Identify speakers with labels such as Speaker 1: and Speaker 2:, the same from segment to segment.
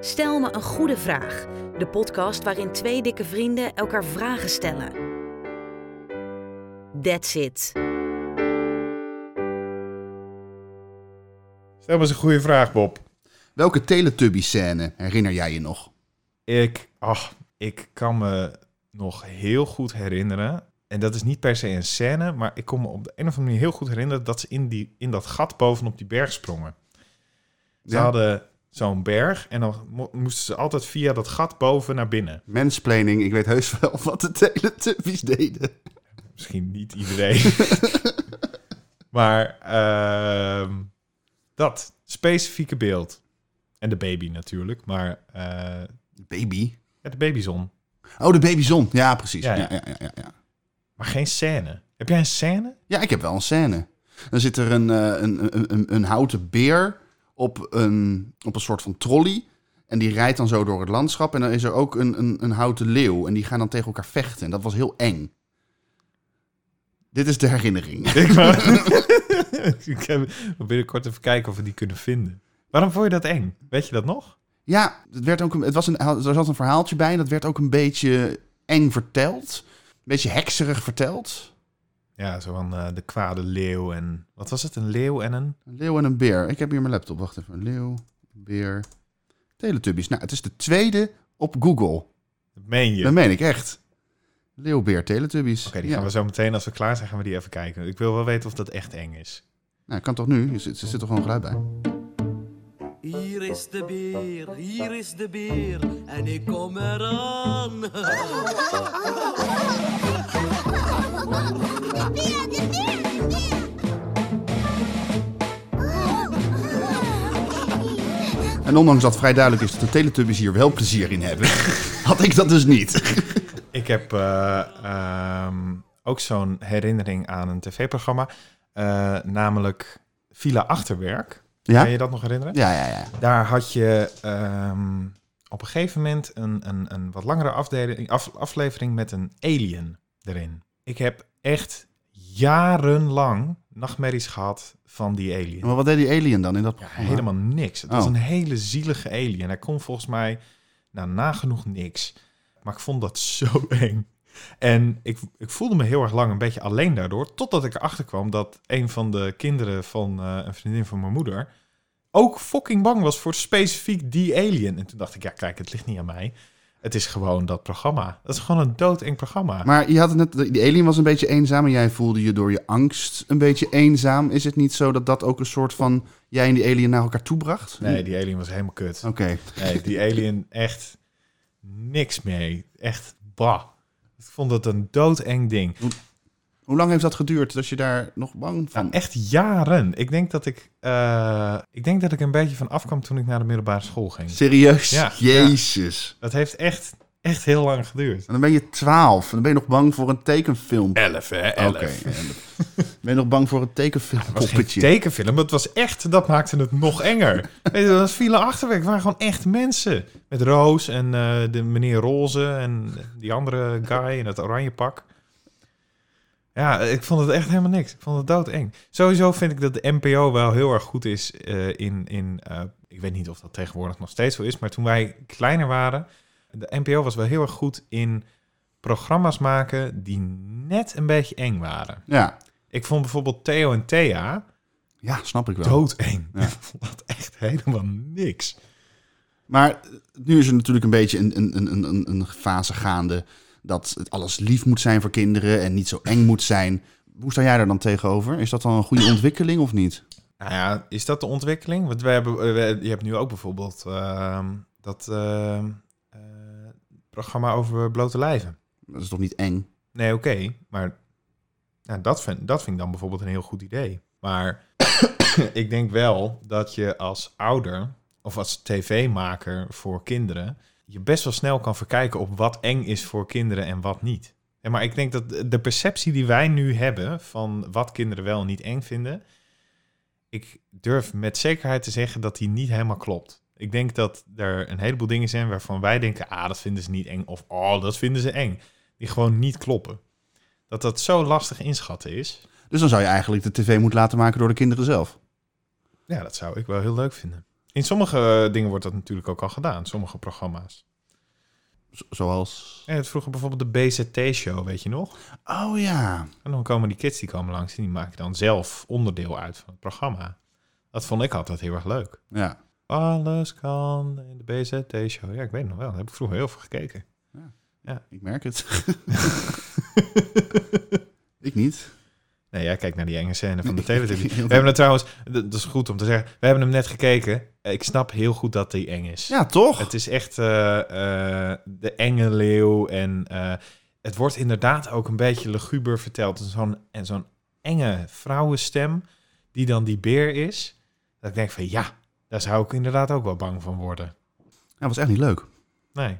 Speaker 1: Stel me een goede vraag. De podcast waarin twee dikke vrienden elkaar vragen stellen. That's it.
Speaker 2: Stel maar eens een goede vraag, Bob.
Speaker 3: Welke Teletubby-scène herinner jij je nog?
Speaker 2: Ik, ach, ik kan me nog heel goed herinneren. En dat is niet per se een scène, maar ik kon me op de een of andere manier heel goed herinneren dat ze in, die, in dat gat bovenop die berg sprongen. Ze
Speaker 3: Ja.
Speaker 2: hadden zo'n berg en dan mo- moesten ze altijd via dat gat boven naar binnen.
Speaker 3: Mensplaning, ik weet heus wel wat de Teletubbies deden.
Speaker 2: Misschien niet iedereen. maar ehm, dat specifieke beeld. En de baby natuurlijk, maar eh,
Speaker 3: Baby.
Speaker 2: ja, de babyzon.
Speaker 3: Oh, de babyzon. Ja, precies.
Speaker 2: Ja,
Speaker 3: Ja,
Speaker 2: ja.
Speaker 3: ja. Ja, ja, ja, ja.
Speaker 2: Maar geen scène. Heb jij een scène?
Speaker 3: ik heb wel een scène. Dan zit er een, eh, een, een, een, een houten beer op een, op een soort van trolley. En die rijdt dan zo door het landschap. En dan is er ook een, een, een houten leeuw. En die gaan dan tegen elkaar vechten. En dat was heel eng. Dit is de herinnering.
Speaker 2: Ik wou- Ik heb- we binnenkort even kijken of we die kunnen vinden. Waarom vond je dat eng? Weet je dat nog?
Speaker 3: Ja, het werd ook een, het was een, er zat een verhaaltje bij. En dat werd ook een beetje eng verteld. Een beetje hekserig verteld.
Speaker 2: Ja, zo van eh, de kwade leeuw en... Wat was het? Een leeuw en een...
Speaker 3: Een leeuw en een beer. Ik heb hier mijn laptop. Wacht even. Een leeuw, een beer. Teletubbies. Nou, het is de tweede op Google.
Speaker 2: Dat meen je.
Speaker 3: Dat
Speaker 2: Oké,
Speaker 3: meen ik echt. Leeuw, beer, Teletubbies.
Speaker 2: die
Speaker 3: Ja.
Speaker 2: gaan we zo meteen, als we klaar zijn, gaan we die even kijken. Ik wil wel weten of dat echt eng is.
Speaker 3: Nou, kan toch nu? Er zit, er zit toch gewoon geluid bij?
Speaker 4: Hier is de beer, hier is de beer en ik kom eraan.
Speaker 3: En ondanks dat vrij duidelijk is dat de Teletubbies hier wel plezier in hebben, had ik dat dus niet.
Speaker 2: Ik heb eh, ehm, ook zo'n herinnering aan een tv-programma. eh, namelijk Villa Achterwerk.
Speaker 3: Ja?
Speaker 2: Kan je dat nog herinneren?
Speaker 3: Ja, ja, ja.
Speaker 2: Daar had je ehm, op een gegeven moment een, een, een wat langere afdeling, af- aflevering met een alien erin. Ik heb echt jarenlang nachtmerries gehad van die alien.
Speaker 3: Maar wat deed die alien dan in dat
Speaker 2: Ja,
Speaker 3: programma?
Speaker 2: helemaal niks. Het was
Speaker 3: Oh.
Speaker 2: een hele zielige alien. Hij kon volgens mij nou, nagenoeg niks. Maar ik vond dat zo eng. En ik, ik voelde me heel erg lang een beetje alleen daardoor. Totdat ik erachter kwam dat een van de kinderen van eh, een vriendin van mijn moeder... ook fucking bang was voor specifiek die alien. En toen dacht ik, ja kijk, het ligt niet aan mij. Het is gewoon dat programma. Dat is gewoon een doodeng programma.
Speaker 3: Maar je had het net, die alien was een beetje eenzaam en jij voelde je door je angst een beetje eenzaam. Is het niet zo dat dat ook een soort van jij en die alien naar elkaar toe bracht?
Speaker 2: Nee, die alien was helemaal kut.
Speaker 3: Oké.
Speaker 2: Nee, die alien echt niks mee. Echt bah. Ik vond het een doodeng ding.
Speaker 3: Hoe lang heeft dat geduurd dat je daar nog bang van...
Speaker 2: Nou, echt jaren. Ik denk dat ik, eh, ik denk dat ik een beetje van afkwam toen ik naar de middelbare school ging.
Speaker 3: Serieus?
Speaker 2: Ja.
Speaker 3: Jezus.
Speaker 2: Dat heeft echt, echt heel lang geduurd.
Speaker 3: En dan ben je 12. En dan ben je nog bang voor een tekenfilm.
Speaker 2: Elf, hè?
Speaker 3: Oké. En ben je nog bang voor een
Speaker 2: Het was geen
Speaker 3: tekenfilmpoppetje?
Speaker 2: tekenfilm, het was echt, dat maakte het nog enger. Weet je, dat file achterwerk, het waren gewoon echt mensen. Met Roos en eh, de meneer Roze en die andere guy in het oranje pak. Ja, ik vond het echt helemaal niks. Ik vond het doodeng. Sowieso vind ik dat de NPO wel heel erg goed is eh, in... in eh, ik weet niet of dat tegenwoordig nog steeds zo is, maar toen wij kleiner waren... De NPO was wel heel erg goed in programma's maken die net een beetje eng waren.
Speaker 3: ja.
Speaker 2: Ik vond bijvoorbeeld Theo en Thea...
Speaker 3: ja, snap ik wel.
Speaker 2: Doodeng. Ik vond dat echt helemaal niks.
Speaker 3: Maar nu is er natuurlijk een beetje een, een, een, een, een fase gaande... dat het alles lief moet zijn voor kinderen en niet zo eng moet zijn. Hoe sta jij daar dan tegenover? Is dat dan een goede ontwikkeling of niet?
Speaker 2: Nou ja, is dat de ontwikkeling? Want we hebben, eh, we- je hebt nu ook bijvoorbeeld ehm, dat ehm, eh, programma over blote lijven.
Speaker 3: Dat is toch niet eng?
Speaker 2: Nee, oké, maar nou, dat, vind, dat vind ik dan bijvoorbeeld een heel goed idee. Maar ik denk wel dat je als ouder of als tv-maker voor kinderen... je best wel snel kan verkijken op wat eng is voor kinderen en wat niet. Ja, maar ik denk dat de- de perceptie die wij nu hebben van wat kinderen wel en niet eng vinden... ik durf met zekerheid te zeggen dat die niet helemaal klopt. Ik denk dat er een heleboel dingen zijn waarvan wij denken... ah, dat vinden ze niet eng of oh, dat vinden ze eng. Die gewoon niet kloppen. Dat dat zo lastig inschatten is...
Speaker 3: Dus dan zou je eigenlijk de tv moeten laten maken door de kinderen zelf.
Speaker 2: Ja, dat zou ik wel heel leuk vinden. In sommige eh, dingen wordt dat natuurlijk ook al gedaan, sommige programma's.
Speaker 3: Z- zoals...
Speaker 2: En het vroeger bijvoorbeeld de BZT-show, weet je nog?
Speaker 3: Oh ja.
Speaker 2: En dan komen die kids die komen langs en die maken dan zelf onderdeel uit van het programma. Dat vond ik altijd heel erg leuk.
Speaker 3: Ja.
Speaker 2: Alles kan in de BZT-show. Ja, ik weet het nog wel. Daar heb ik vroeger heel veel gekeken.
Speaker 3: Ik merk het. ik niet.
Speaker 2: Nee, jij kijkt naar die enge scène van de televisie. We
Speaker 3: Heel
Speaker 2: hebben het trouwens, d- dat is goed om te zeggen, we hebben hem net gekeken. Ik snap heel goed dat die eng is.
Speaker 3: Ja, toch?
Speaker 2: Het is echt eh, eh, de enge leeuw en eh, het wordt inderdaad ook een beetje luguber verteld. En Zo'n, en zo'n enge vrouwenstem die dan die beer is. Dat ik denk van ja, daar zou ik inderdaad ook wel bang van worden.
Speaker 3: Ja, was echt niet leuk.
Speaker 2: Nee.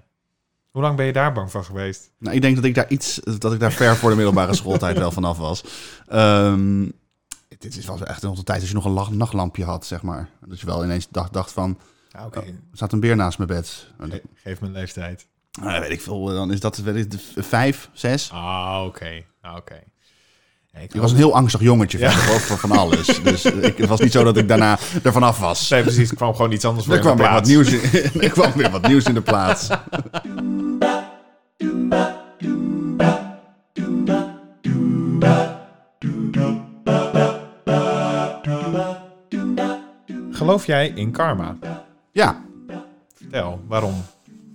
Speaker 2: Hoe lang ben je daar bang van geweest?
Speaker 3: Nou, ik denk dat ik daar iets, dat ik daar ver voor de middelbare schooltijd wel vanaf was. Ehm, dit is was echt nog de tijd als je nog een lach- nachtlampje had, zeg maar. Dat je wel ineens dacht, dacht van,
Speaker 2: Nou,
Speaker 3: Ah, oké. er staat een beer naast mijn bed. Nou, dat-
Speaker 2: Geef mijn leeftijd.
Speaker 3: nou, weet ik veel, dan is dat weet ik, de v- vijf, zes.
Speaker 2: Ah, oké. Ah, oké. Nee, ik
Speaker 3: Ik was een heel angstig jongetje
Speaker 2: Ja.
Speaker 3: verder, hoor, voor van alles. Dus eh, ik, het was niet zo dat ik daarna er vanaf was.
Speaker 2: Nee, precies. Er kwam gewoon iets anders voor
Speaker 3: Er
Speaker 2: in de
Speaker 3: kwam, weer wat
Speaker 2: plaats.
Speaker 3: nieuws in, er kwam weer wat nieuws in de plaats.
Speaker 2: Geloof jij in karma?
Speaker 3: Ja,
Speaker 2: Vertel, waarom?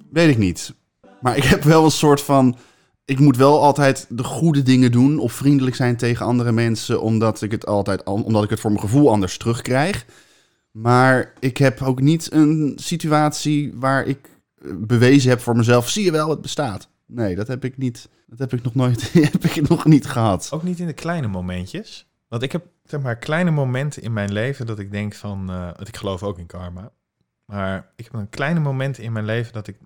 Speaker 3: Weet ik niet. Maar ik heb wel een soort van. Ik moet wel altijd de goede dingen doen. Of vriendelijk zijn tegen andere mensen. Omdat ik het altijd. an- Omdat ik het voor mijn gevoel anders terugkrijg. Maar ik heb ook niet een situatie waar ik eh, bewezen heb voor mezelf. Zie je wel, het bestaat. Nee, dat heb ik niet. Dat heb ik nog nooit. heb ik nog niet gehad.
Speaker 2: Ook niet in de kleine momentjes. Want ik heb zeg maar kleine momenten in mijn leven dat ik denk van, eh, want ik geloof ook in karma. Maar ik heb een kleine moment in mijn leven dat ik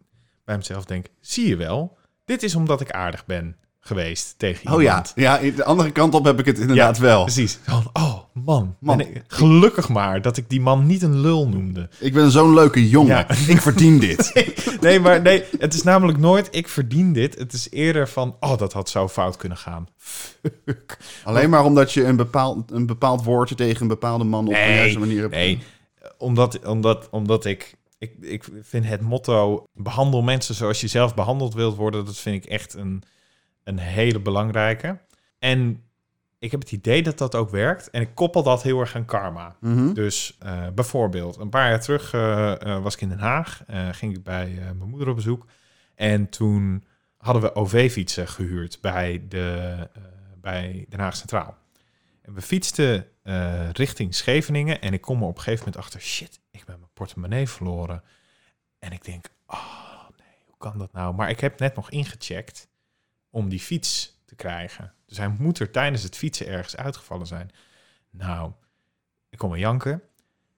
Speaker 2: bij mezelf denk, zie je wel, dit is omdat ik aardig ben geweest tegen iemand.
Speaker 3: Oh ja. Dus- Ja, de andere kant op heb ik het inderdaad wel.
Speaker 2: Precies. Van, oh man,
Speaker 3: Man.
Speaker 2: ben ik- gelukkig maar dat ik die man niet een lul noemde.
Speaker 3: Ik ben zo'n leuke jongen.
Speaker 2: Ja.
Speaker 3: Ik verdien dit.
Speaker 2: Nee, maar nee, het is namelijk nooit ik verdien dit. Het is eerder van, oh dat had zo fout kunnen gaan. Fuck.
Speaker 3: Alleen maar omdat je een bepaald, een bepaald woordje tegen een bepaalde man op de juiste manier hebt.
Speaker 2: Nee, omdat, omdat, omdat ik, ik, ik vind het motto behandel mensen zoals je zelf behandeld wilt worden, dat vind ik echt een, een hele belangrijke. En ik heb het idee dat dat ook werkt en ik koppel dat heel erg aan karma.
Speaker 3: Mhm.
Speaker 2: Dus eh, bijvoorbeeld, een paar jaar terug eh, eh, was ik in Den Haag, eh, ging ik bij eh, mijn moeder op bezoek. En toen hadden we OV-fietsen gehuurd bij, de, eh, bij Den Haag Centraal. En we fietsten eh, richting Scheveningen en ik kom er op een gegeven moment achter, shit, ik ben mijn portemonnee verloren. En ik denk, oh nee, hoe kan dat nou? Maar ik heb net nog ingecheckt om die fiets te krijgen. Dus hij moet er tijdens het fietsen ergens uitgevallen zijn. Nou, ik kon wel janken.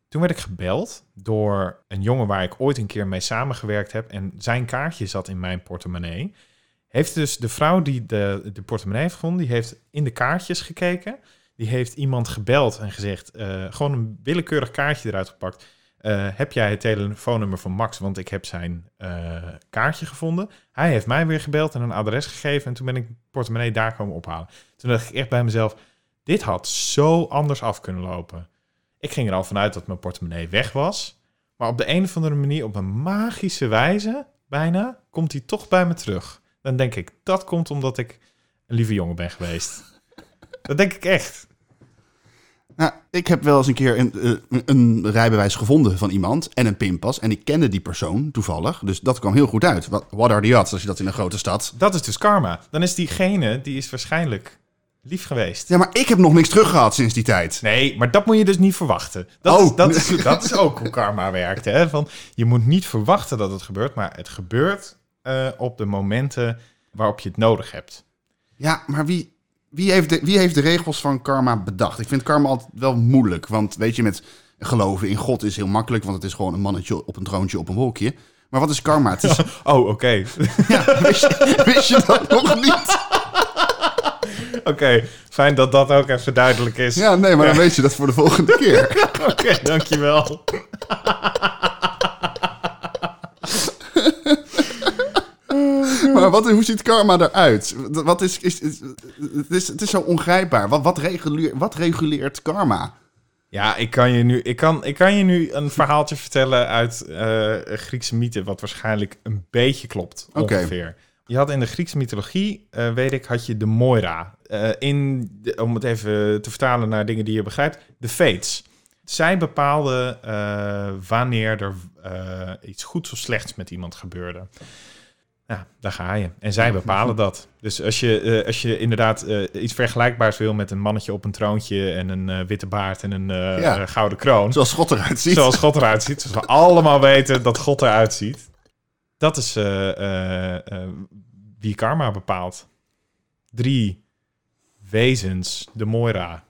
Speaker 2: Toen werd ik gebeld door een jongen waar ik ooit een keer mee samengewerkt heb. En zijn kaartje zat in mijn portemonnee. Heeft dus de vrouw die de, de portemonnee heeft gevonden, die heeft in de kaartjes gekeken. Die heeft iemand gebeld en gezegd, eh, gewoon een willekeurig kaartje eruit gepakt. Eh, heb jij het telefoonnummer van Max? Want ik heb zijn eh, kaartje gevonden. Hij heeft mij weer gebeld en een adres gegeven. En toen ben ik de portemonnee daar komen ophalen. Toen dacht ik echt bij mezelf, dit had zo anders af kunnen lopen. Ik ging er al vanuit dat mijn portemonnee weg was. Maar op de een of andere manier, op een magische wijze, bijna, komt hij toch bij me terug. Dan denk ik, dat komt omdat ik een lieve jongen ben geweest. dat denk ik echt.
Speaker 3: Nou, ik heb wel eens een keer een, eh, een rijbewijs gevonden van iemand en een pinpas. En ik kende die persoon toevallig, dus dat kwam heel goed uit. What, what are the odds als je dat in een grote stad...
Speaker 2: Dat is dus karma. Dan is diegene, die is waarschijnlijk lief geweest.
Speaker 3: Ja, maar ik heb nog niks teruggehad sinds die tijd.
Speaker 2: Nee, maar dat moet je dus niet verwachten. Dat,
Speaker 3: Oh.
Speaker 2: is, dat, is, dat is ook hoe karma werkt. Hè? Van, je moet niet verwachten dat het gebeurt, maar het gebeurt eh, op de momenten waarop je het nodig hebt.
Speaker 3: Ja, maar wie, wie, heeft de, wie heeft de regels van karma bedacht? Ik vind karma altijd wel moeilijk. Want weet je, met geloven in God is heel makkelijk. Want het is gewoon een mannetje op een troontje op een wolkje. Maar wat is karma? Het is,
Speaker 2: Oh, oké.
Speaker 3: ja, wist, je, wist je dat nog niet?
Speaker 2: Oké, fijn dat dat ook even duidelijk is.
Speaker 3: Ja, nee, maar dan weet je dat voor de volgende keer.
Speaker 2: Oké, dankjewel.
Speaker 3: Maar wat, hoe ziet karma eruit? Wat is, is, is- het, is het is zo ongrijpbaar. Wat, wat, reguleert, wat reguleert karma?
Speaker 2: Ja, ik kan je nu, ik kan, ik kan je nu een verhaaltje vertellen uit eh, Griekse mythe, wat waarschijnlijk een beetje klopt
Speaker 3: Oké.
Speaker 2: ongeveer. Je had in de Griekse mythologie, eh, weet ik, had je de Moira. Eh, in de- om het even te vertalen naar dingen die je begrijpt, de Fates. Zij bepaalden eh, wanneer er eh, iets goeds of slechts met iemand gebeurde. Ja, daar ga je. En zij bepalen dat. Dus als je, eh, als je inderdaad eh, iets vergelijkbaars wil met een mannetje op een troontje en een eh, witte baard en een eh,
Speaker 3: Ja.
Speaker 2: eh, gouden kroon.
Speaker 3: Zoals God eruit ziet.
Speaker 2: Zoals God eruit ziet. Zoals we allemaal weten dat God eruit ziet. Dat is eh, eh, eh, wie karma bepaalt. Drie wezens, de Moira.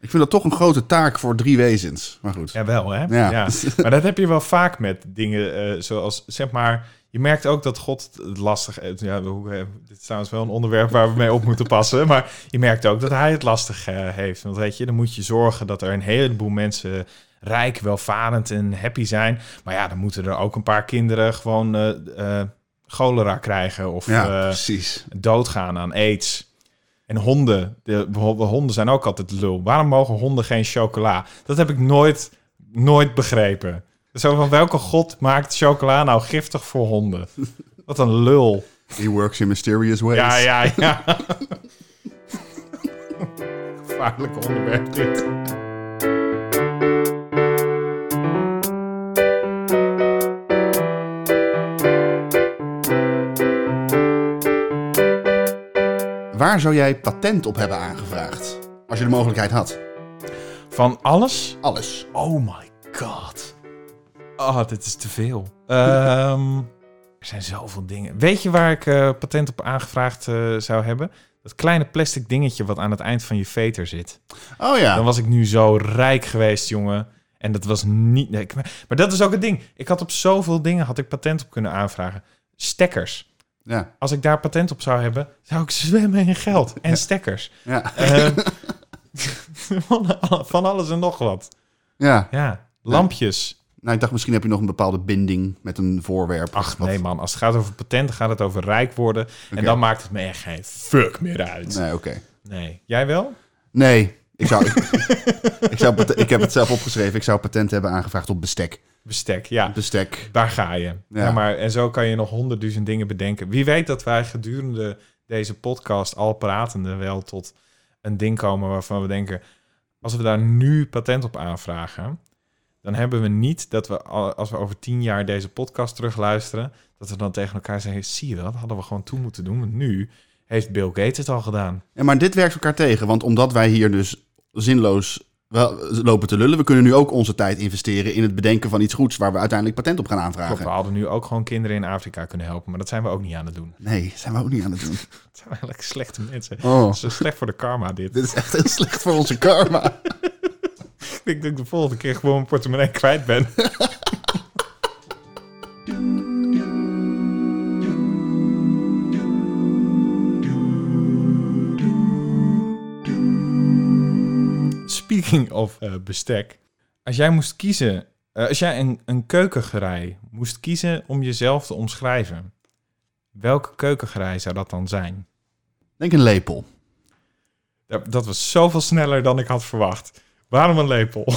Speaker 3: Ik vind dat toch een grote taak voor drie wezens. Maar goed.
Speaker 2: Jawel, hè?
Speaker 3: Ja.
Speaker 2: Maar dat heb je wel vaak met dingen eh, zoals, zeg maar... Je merkt ook dat God het lastig... eh, Ja, hoe, eh, dit is trouwens wel een onderwerp waar we mee op moeten passen. Maar je merkt ook dat hij het lastig eh, heeft. Want weet je, dan moet je zorgen dat er een heleboel mensen... rijk, welvarend en happy zijn. Maar ja, dan moeten er ook een paar kinderen gewoon... eh, eh, cholera krijgen of
Speaker 3: Ja,
Speaker 2: eh,
Speaker 3: precies.
Speaker 2: doodgaan aan aids. En honden, de, bijvoorbeeld honden zijn ook altijd lul. Waarom mogen honden geen chocola? Dat heb ik nooit, nooit begrepen. Zo van welke god maakt chocola nou giftig voor honden? Wat een lul.
Speaker 3: He works in mysterious ways.
Speaker 2: Ja, ja, ja. Gevaarlijk onderwerp dit.
Speaker 3: Waar zou jij patent op hebben aangevraagd? Als je de mogelijkheid had.
Speaker 2: Van alles?
Speaker 3: Alles.
Speaker 2: Oh my god. Oh, dit is te veel. Ehm, er zijn zoveel dingen. Weet je waar ik eh, patent op aangevraagd eh, zou hebben? Dat kleine plastic dingetje wat aan het eind van je veter zit.
Speaker 3: Oh ja.
Speaker 2: Dan was ik nu zo rijk geweest, jongen. En dat was niet... nee, ik- maar dat is ook het ding. Ik had op zoveel dingen had ik patent op kunnen aanvragen. Stekkers.
Speaker 3: Ja.
Speaker 2: Als ik daar patent op zou hebben, zou ik zwemmen in geld. En stekkers.
Speaker 3: Ja.
Speaker 2: Ehm, van, van alles en nog wat.
Speaker 3: ja.
Speaker 2: Ja, lampjes.
Speaker 3: Nou, ik dacht misschien heb je nog een bepaalde binding met een voorwerp.
Speaker 2: Ach
Speaker 3: Wat-
Speaker 2: nee man, als het gaat over patenten gaat het over rijk worden. En dan maakt het me echt geen fuck meer uit. Nee.
Speaker 3: Nee, oké.
Speaker 2: Jij wel?
Speaker 3: Nee. Ik, zou, ik, ik zou, pat- ik heb het zelf opgeschreven. Ik zou patent hebben aangevraagd op bestek.
Speaker 2: Bestek, ja.
Speaker 3: Bestek.
Speaker 2: Daar ga je. Ja.
Speaker 3: Dus- Ja.
Speaker 2: maar, en zo kan je nog honderdduizend dingen bedenken. Wie weet dat wij gedurende deze podcast al pratende wel tot een ding komen waarvan we denken... als we daar nu patent op aanvragen... dan hebben we niet dat we al- als we over tien jaar deze podcast terugluisteren... dat we dan tegen elkaar zeggen... zie je wel, dat hadden we gewoon toen moeten doen. Want nu heeft Bill Gates het al gedaan.
Speaker 3: Ja, maar dit werkt elkaar tegen. Want omdat wij hier dus zinloos wel, lopen te lullen... we kunnen nu ook onze tijd investeren in het bedenken van iets goeds... waar we uiteindelijk patent op gaan aanvragen.
Speaker 2: Klopt, we hadden nu ook gewoon kinderen in Afrika kunnen helpen, maar dat zijn we ook niet aan het doen.
Speaker 3: Nee, zijn we ook niet aan het doen.
Speaker 2: Dat zijn eigenlijk slechte mensen.
Speaker 3: Oh.
Speaker 2: Dat is slecht voor de karma dit.
Speaker 3: Dit is echt heel slecht voor onze karma.
Speaker 2: Ik denk dat ik de volgende keer gewoon mijn portemonnee kwijt ben. Speaking of eh, bestek. Als jij moest kiezen, eh, als jij een, een keukengerij moest kiezen om jezelf te omschrijven, welke keukengerij zou dat dan zijn?
Speaker 3: Denk een lepel.
Speaker 2: Dat, dat was zoveel sneller dan ik had verwacht. Waarom een lepel?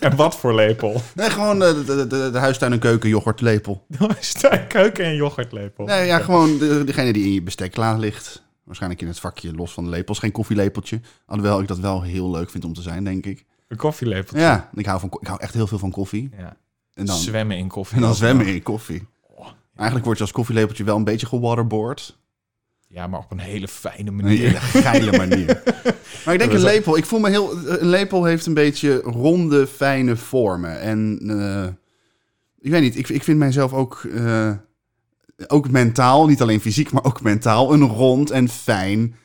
Speaker 2: en wat voor lepel?
Speaker 3: Nee, gewoon eh, de, de, de, de huistuin en keuken yoghurtlepel.
Speaker 2: Dan is daar een keuken- en yoghurtlepel.
Speaker 3: Nee, ja, gewoon de- degene die in je bestek klaar ligt. Waarschijnlijk in het vakje los van de lepels. Geen koffielepeltje. Alhoewel ik dat wel heel leuk vind om te zijn, denk ik.
Speaker 2: Een koffielepel.
Speaker 3: Ja, ik hou, van, ko- ik hou echt heel veel van koffie.
Speaker 2: Ja.
Speaker 3: En dan,
Speaker 2: Zwemmen in koffie.
Speaker 3: en dan zwemmen in koffie. Eigenlijk word je als koffielepeltje wel een beetje gewaterboard.
Speaker 2: Ja, maar op een hele fijne
Speaker 3: Op Een
Speaker 2: manier.
Speaker 3: hele geile manier. Maar ik denk
Speaker 2: is
Speaker 3: een
Speaker 2: ook-
Speaker 3: lepel. Ik voel me heel... Een lepel heeft een beetje ronde, fijne vormen. En eh, ik weet niet, ik, ik vind mijzelf ook... eh, ook mentaal, niet alleen fysiek, maar ook mentaal... een rond en fijn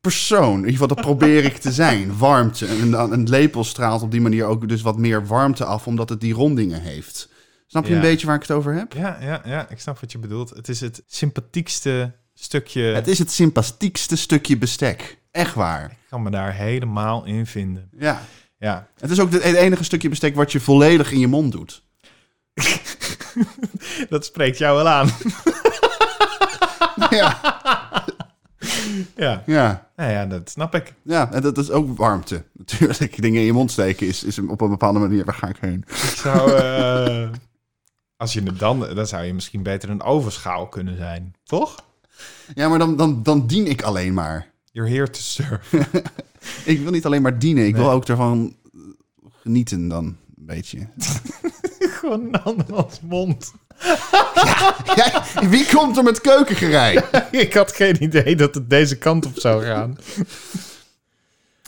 Speaker 3: persoon. In ieder geval, dat probeer ik te zijn. Warmte. En dan- een lepel straalt op die manier ook dus wat meer warmte af... omdat het die rondingen heeft. Snap je
Speaker 2: Ja.
Speaker 3: een beetje waar ik het over heb?
Speaker 2: Ja, ja, ja, ik snap wat je bedoelt. Het is het sympathiekste stukje.
Speaker 3: Het is het sympathiekste stukje bestek. Echt waar.
Speaker 2: Ik kan me daar helemaal in vinden.
Speaker 3: Ja.
Speaker 2: Ja.
Speaker 3: Het is ook het enige stukje bestek wat je volledig in je mond doet.
Speaker 2: Dat spreekt jou wel aan.
Speaker 3: ja.
Speaker 2: Ja.
Speaker 3: Ja,
Speaker 2: Nou ja, dat snap ik.
Speaker 3: ja en dat is ook warmte. Natuurlijk, dingen in je mond steken is, is op een bepaalde manier, waar ga ik heen?
Speaker 2: Ik zou, eh, als je het dan, dan zou je misschien beter een overschaal kunnen zijn, toch?
Speaker 3: Ja, maar dan, dan, dan dien ik alleen maar.
Speaker 2: You're here to serve.
Speaker 3: Ik wil niet alleen maar dienen, ik wil
Speaker 2: Nee.
Speaker 3: ook ervan genieten dan, een beetje.
Speaker 2: Gewoon een andermans mond.
Speaker 3: Ja, wie komt er met keukengerei?
Speaker 2: ik had geen idee dat het deze kant op zou gaan.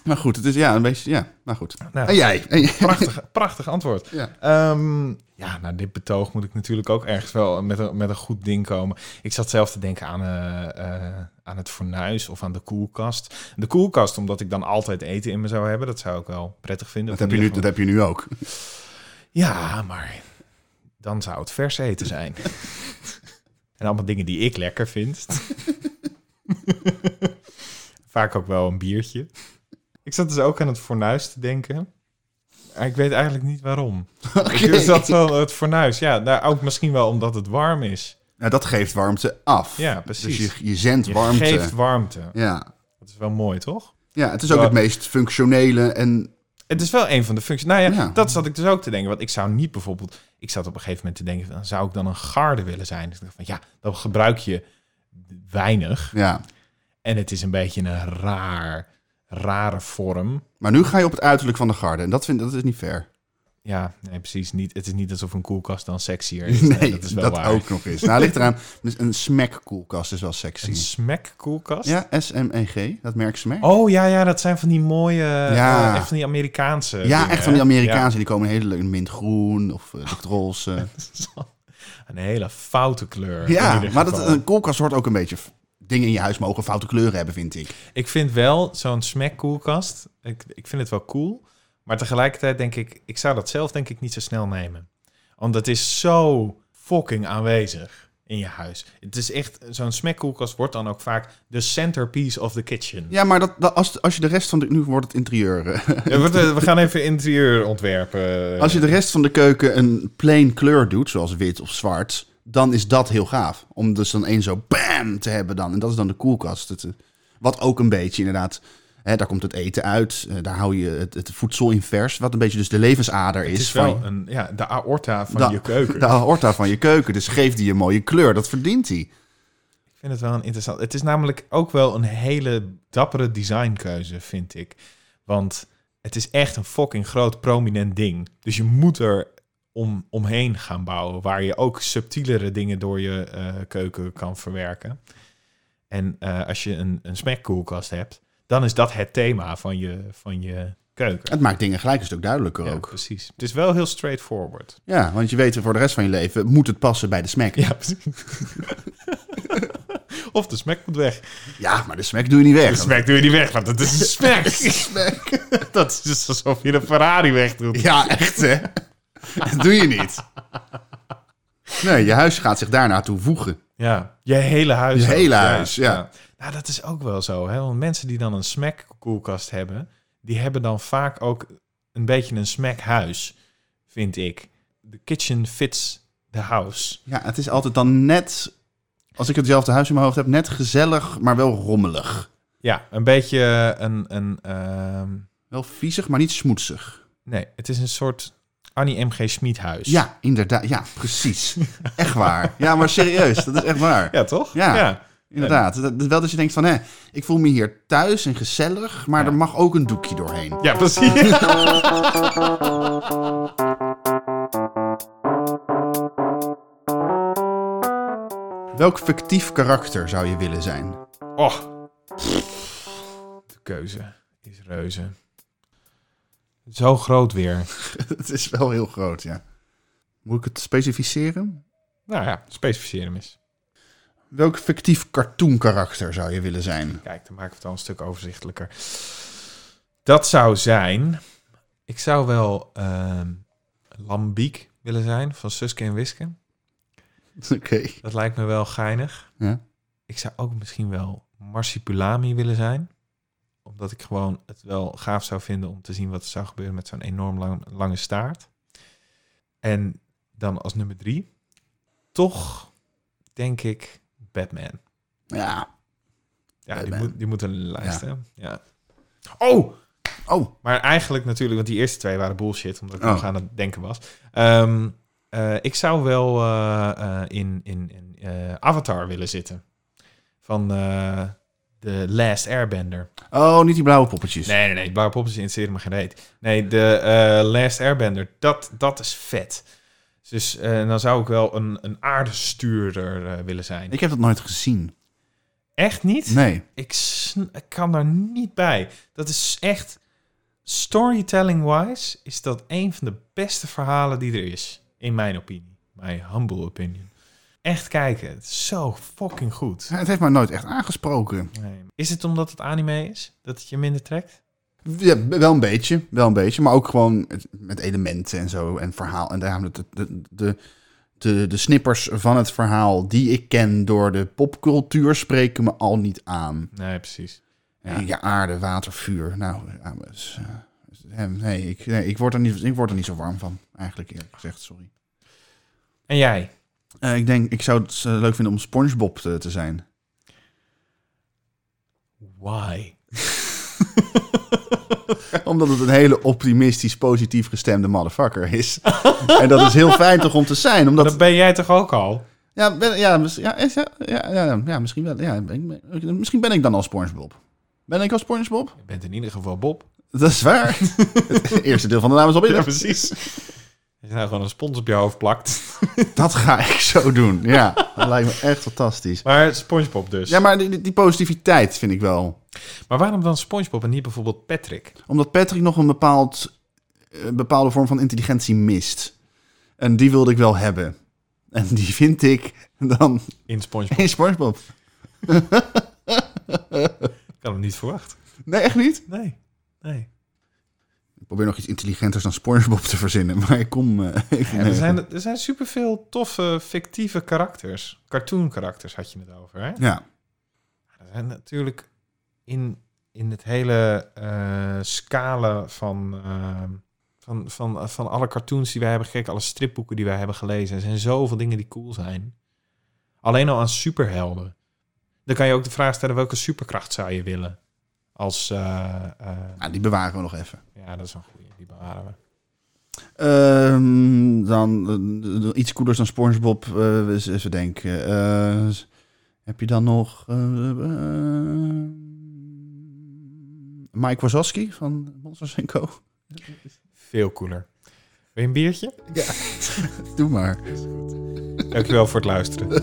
Speaker 3: Maar goed, het is ja, een beetje, ja, maar goed.
Speaker 2: Nou,
Speaker 3: En jij? En jij?
Speaker 2: Prachtig, prachtig antwoord.
Speaker 3: Ja.
Speaker 2: Ehm, ja, nou, dit betoog moet ik natuurlijk ook ergens wel met een, met een goed ding komen. Ik zat zelf te denken aan, eh, eh, aan het fornuis of aan de koelkast. De koelkast, omdat ik dan altijd eten in me zou hebben. Dat zou ik wel prettig vinden.
Speaker 3: Dat, heb je nu, dat heb je nu ook.
Speaker 2: Ja, maar dan zou het vers eten zijn. en allemaal dingen die ik lekker vind. Vaak ook wel een biertje. Ik zat dus ook aan het fornuis te denken. Maar Ik weet eigenlijk niet waarom. Ik
Speaker 3: Oké.
Speaker 2: is dat wel het fornuis? Ja, nou, ook misschien wel omdat het warm is.
Speaker 3: Nou, dat geeft warmte af.
Speaker 2: Ja, precies.
Speaker 3: Dus je, je zendt
Speaker 2: Je
Speaker 3: warmte.
Speaker 2: geeft warmte.
Speaker 3: Ja.
Speaker 2: Dat is wel mooi, toch?
Speaker 3: ja, het is ook
Speaker 2: Ja.
Speaker 3: het meest functionele en...
Speaker 2: Het is wel een van de functies. Nou ja,
Speaker 3: Ja.
Speaker 2: dat zat ik dus ook te denken. Want ik zou niet bijvoorbeeld... Ik zat op een gegeven moment te denken... van, Zou ik dan een garde willen zijn? Dus ik dacht van, ja, dan gebruik je weinig.
Speaker 3: Ja.
Speaker 2: En het is een beetje een raar, rare vorm.
Speaker 3: Maar nu ga je op het uiterlijk van de garde. En dat, vind, dat is niet fair.
Speaker 2: Ja, nee, precies. Niet, het is niet alsof een koelkast dan sexier is.
Speaker 3: Nee,
Speaker 2: Nee,
Speaker 3: dat, ook nog eens. Nou, ligt eraan. Dus Een smack-koelkast is wel sexy.
Speaker 2: Een smekkoelkast?
Speaker 3: Ja, S-M-E-G. Dat merk smack.
Speaker 2: Oh ja, ja, dat zijn van die mooie,
Speaker 3: Ja.
Speaker 2: eh, echt van die Amerikaanse.
Speaker 3: ja,
Speaker 2: dingen,
Speaker 3: echt van die
Speaker 2: hè?
Speaker 3: Amerikaanse. Die komen heel leuk in mintgroen of uh, lichtroze.
Speaker 2: Ja. Een hele foute kleur. in
Speaker 3: Ja,
Speaker 2: ieder
Speaker 3: maar dat, eh,
Speaker 2: geval.
Speaker 3: een koelkast hoort ook een beetje... f- Dingen in je huis mogen foute kleuren hebben, vind ik.
Speaker 2: Ik vind wel zo'n smackkoelkast, ik, ik vind het wel cool. Maar tegelijkertijd denk ik, ik zou dat zelf denk ik niet zo snel nemen. Want het is zo fucking aanwezig in je huis. Het is echt, zo'n smackkoelkast wordt dan ook vaak de centerpiece of the kitchen.
Speaker 3: Ja, maar dat, dat- als, als je de rest van de... Nu wordt het interieur. eh.
Speaker 2: Ja, we, we gaan even interieur ontwerpen.
Speaker 3: Als je de rest van de keuken een plain kleur doet, zoals wit of zwart... dan is dat heel gaaf. Om dus dan één zo bam te hebben dan. En dat is dan de koelkast. Het, eh, wat ook een beetje inderdaad... Hè, daar komt het eten uit. eh, daar hou je het, het voedsel in vers. Wat een beetje dus de levensader
Speaker 2: het
Speaker 3: is,
Speaker 2: is
Speaker 3: van
Speaker 2: wel een, ja, de aorta van
Speaker 3: Da-
Speaker 2: je keuken.
Speaker 3: de aorta van je keuken. Dus geef die een mooie kleur. Dat verdient hij.
Speaker 2: Ik vind het wel een interessant. Het is namelijk ook wel een hele dappere designkeuze, vind ik. Want het is echt een fucking groot prominent ding. Dus je moet er om, omheen gaan bouwen, waar je ook subtielere dingen door je eh, keuken kan verwerken. En eh, als je een, een smackkoelkast hebt, dan is dat het thema van je, van je keuken.
Speaker 3: Het maakt dingen gelijk een stuk duidelijker
Speaker 2: Ja,
Speaker 3: ook.
Speaker 2: precies. Het is wel heel straightforward.
Speaker 3: Ja, want je weet voor de rest van je leven... moet het passen bij de smack.
Speaker 2: Ja, precies. of de smack moet weg.
Speaker 3: Ja, maar de smack doe je niet weg.
Speaker 2: De smack doe je niet weg, want het is een smack. Dat is dus alsof je een Ferrari wegdoet.
Speaker 3: Ja, echt hè? Dat doe je niet. Nee, je huis gaat zich daarna toe voegen.
Speaker 2: Ja, je hele huis.
Speaker 3: Je
Speaker 2: ook,
Speaker 3: hele huis, ja.
Speaker 2: Nou, dat is ook wel zo. Hè? Want mensen die dan een smack koelkast hebben, die hebben dan vaak ook een beetje een smack huis, vind ik. The kitchen fits the house.
Speaker 3: Ja, het is altijd dan net, als ik hetzelfde huis in mijn hoofd heb, net gezellig, maar wel rommelig.
Speaker 2: Ja, een beetje een... een ehm,
Speaker 3: Wel viezig, maar niet smoetsig.
Speaker 2: nee, het is een soort Annie M.G. Schmid huis.
Speaker 3: Ja, inderdaad. Ja, precies. Echt waar. Ja, maar serieus, dat is echt waar.
Speaker 2: Ja, toch?
Speaker 3: Ja.
Speaker 2: ja.
Speaker 3: Inderdaad. Dat, dat- wel dat je denkt van, hè, ik voel me hier thuis en gezellig, maar er mag ook een doekje doorheen.
Speaker 2: Ja, precies.
Speaker 3: Welk fictief karakter zou je willen zijn?
Speaker 2: Och. De keuze is reuze. Zo groot weer.
Speaker 3: Het is wel heel groot, ja. Moet ik het specificeren?
Speaker 2: Nou ja, specificeer hem eens.
Speaker 3: Welk fictief cartoonkarakter zou je willen zijn?
Speaker 2: Kijk, dan maken we het al een stuk overzichtelijker. Dat zou zijn... Ik zou wel ehm Lambiek willen zijn van Suske en Wiske.
Speaker 3: Oké.
Speaker 2: Dat lijkt me wel geinig.
Speaker 3: Ja.
Speaker 2: Ik zou ook misschien wel Marsipulami willen zijn. Omdat ik gewoon het wel gaaf zou vinden om te zien wat er zou gebeuren met zo'n enorm lang- lange staart. En dan als nummer drie, toch denk ik Batman.
Speaker 3: Ja.
Speaker 2: Ja, die
Speaker 3: Batman.
Speaker 2: moet, die moet een lijst, hebben. Ja.
Speaker 3: Oh! Oh,
Speaker 2: Maar eigenlijk natuurlijk, want die eerste twee waren bullshit, omdat ik
Speaker 3: Oh.
Speaker 2: nog aan het denken was. Ehm, eh, ik zou wel eh, eh, in, in, in eh, Avatar willen zitten. Van eh The Last Airbender.
Speaker 3: oh, niet die blauwe poppetjes.
Speaker 2: Nee, nee, nee. Barry Poppins interesseert me geen reet. Nee, de eh, Last Airbender, dat, dat is vet. Dus eh, dan zou ik wel een, een aardestuurder eh, willen zijn.
Speaker 3: Ik heb dat nooit gezien.
Speaker 2: Echt niet?
Speaker 3: Nee.
Speaker 2: Ik, sn- ik kan daar niet bij. Dat is echt... Storytelling-wise is dat een van de beste verhalen die er is. In mijn opinie. Mijn humble opinion. Echt kijken. Het is zo fucking goed.
Speaker 3: Het heeft mij nooit echt aangesproken.
Speaker 2: Nee. Is het omdat het anime is? Dat het je minder trekt?
Speaker 3: Ja, wel een beetje, wel een beetje. Maar ook gewoon het- met elementen en zo en verhaal. En daarom de, de, de, de, de snippers van het verhaal die ik ken door de popcultuur spreken me al niet aan.
Speaker 2: Nee, precies. Ja.
Speaker 3: Ja, aarde, water, vuur. Nou, ja, maar is, eh, nee, ik, nee, ik, word er niet, ik word er niet zo warm van, eigenlijk eerlijk gezegd, sorry.
Speaker 2: En jij?
Speaker 3: Eh, ik denk, ik zou het eh, leuk vinden om Spongebob te, te zijn.
Speaker 2: Why?
Speaker 3: Omdat het een hele optimistisch, positief gestemde motherfucker is. en dat is heel fijn toch om te zijn. Omdat,
Speaker 2: Dat ben jij toch ook al?
Speaker 3: ja, ben- ja, mis- ja, is- ja, ja, ja, ja, misschien wel. Ja, ben ik- ben- misschien ben ik dan al Spongebob. Ben ik al Spongebob?
Speaker 2: Je bent in ieder geval Bob.
Speaker 3: Dat is waar. het eerste deel van de naam is al binnen.
Speaker 2: precies. Als je nou gewoon een spons op je hoofd plakt.
Speaker 3: Dat ga ik zo doen. Ja, dat lijkt me echt fantastisch.
Speaker 2: Maar Spongebob dus.
Speaker 3: Ja, maar die, die- die positiviteit vind ik wel.
Speaker 2: Maar waarom dan Spongebob en niet bijvoorbeeld Patrick?
Speaker 3: Omdat Patrick nog een, bepaald, een bepaalde vorm van intelligentie mist. En die wilde ik wel hebben. En die vind ik dan
Speaker 2: In Spongebob.
Speaker 3: in Spongebob.
Speaker 2: Ik had hem niet verwacht.
Speaker 3: Nee, echt niet?
Speaker 2: Nee. Nee.
Speaker 3: Ik probeer nog iets intelligenters dan Spongebob te verzinnen. Maar ik kom... eh, ik-
Speaker 2: Ja, er, zijn, er zijn superveel toffe, fictieve karakters. Cartoon karakters had je het over, hè?
Speaker 3: Ja.
Speaker 2: Er zijn natuurlijk in, in het hele eh scala van, eh, van, van, van alle cartoons die wij hebben gekeken, alle stripboeken die wij hebben gelezen, er zijn zoveel dingen die cool zijn. Alleen al aan superhelden. Dan kan je ook de vraag stellen, welke superkracht zou je willen? Als, eh, eh,
Speaker 3: Nou, die bewaren we nog even.
Speaker 2: ja, dat is een goede, die bewaren we.
Speaker 3: Ehm, dan eh, iets koelers dan Spongebob. eh eens even denken. Eh, heb je dan nog... eh, eh, Mike Wazowski van Monsters Co.
Speaker 2: Veel cooler. Wil je een biertje?
Speaker 3: Doe maar.
Speaker 2: Dankjewel voor het luisteren.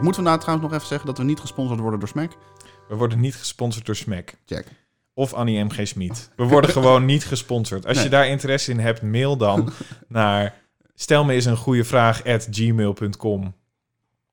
Speaker 3: Moeten we nou trouwens nog even zeggen dat we niet gesponsord worden door Smack?
Speaker 2: We worden niet gesponsord door Smack.
Speaker 3: Check.
Speaker 2: Of Annie M.G. Smit. We worden gewoon niet gesponsord. Als
Speaker 3: Nee.
Speaker 2: je daar interesse in hebt, mail dan naar stel me eens een goede vraag at gmail.com.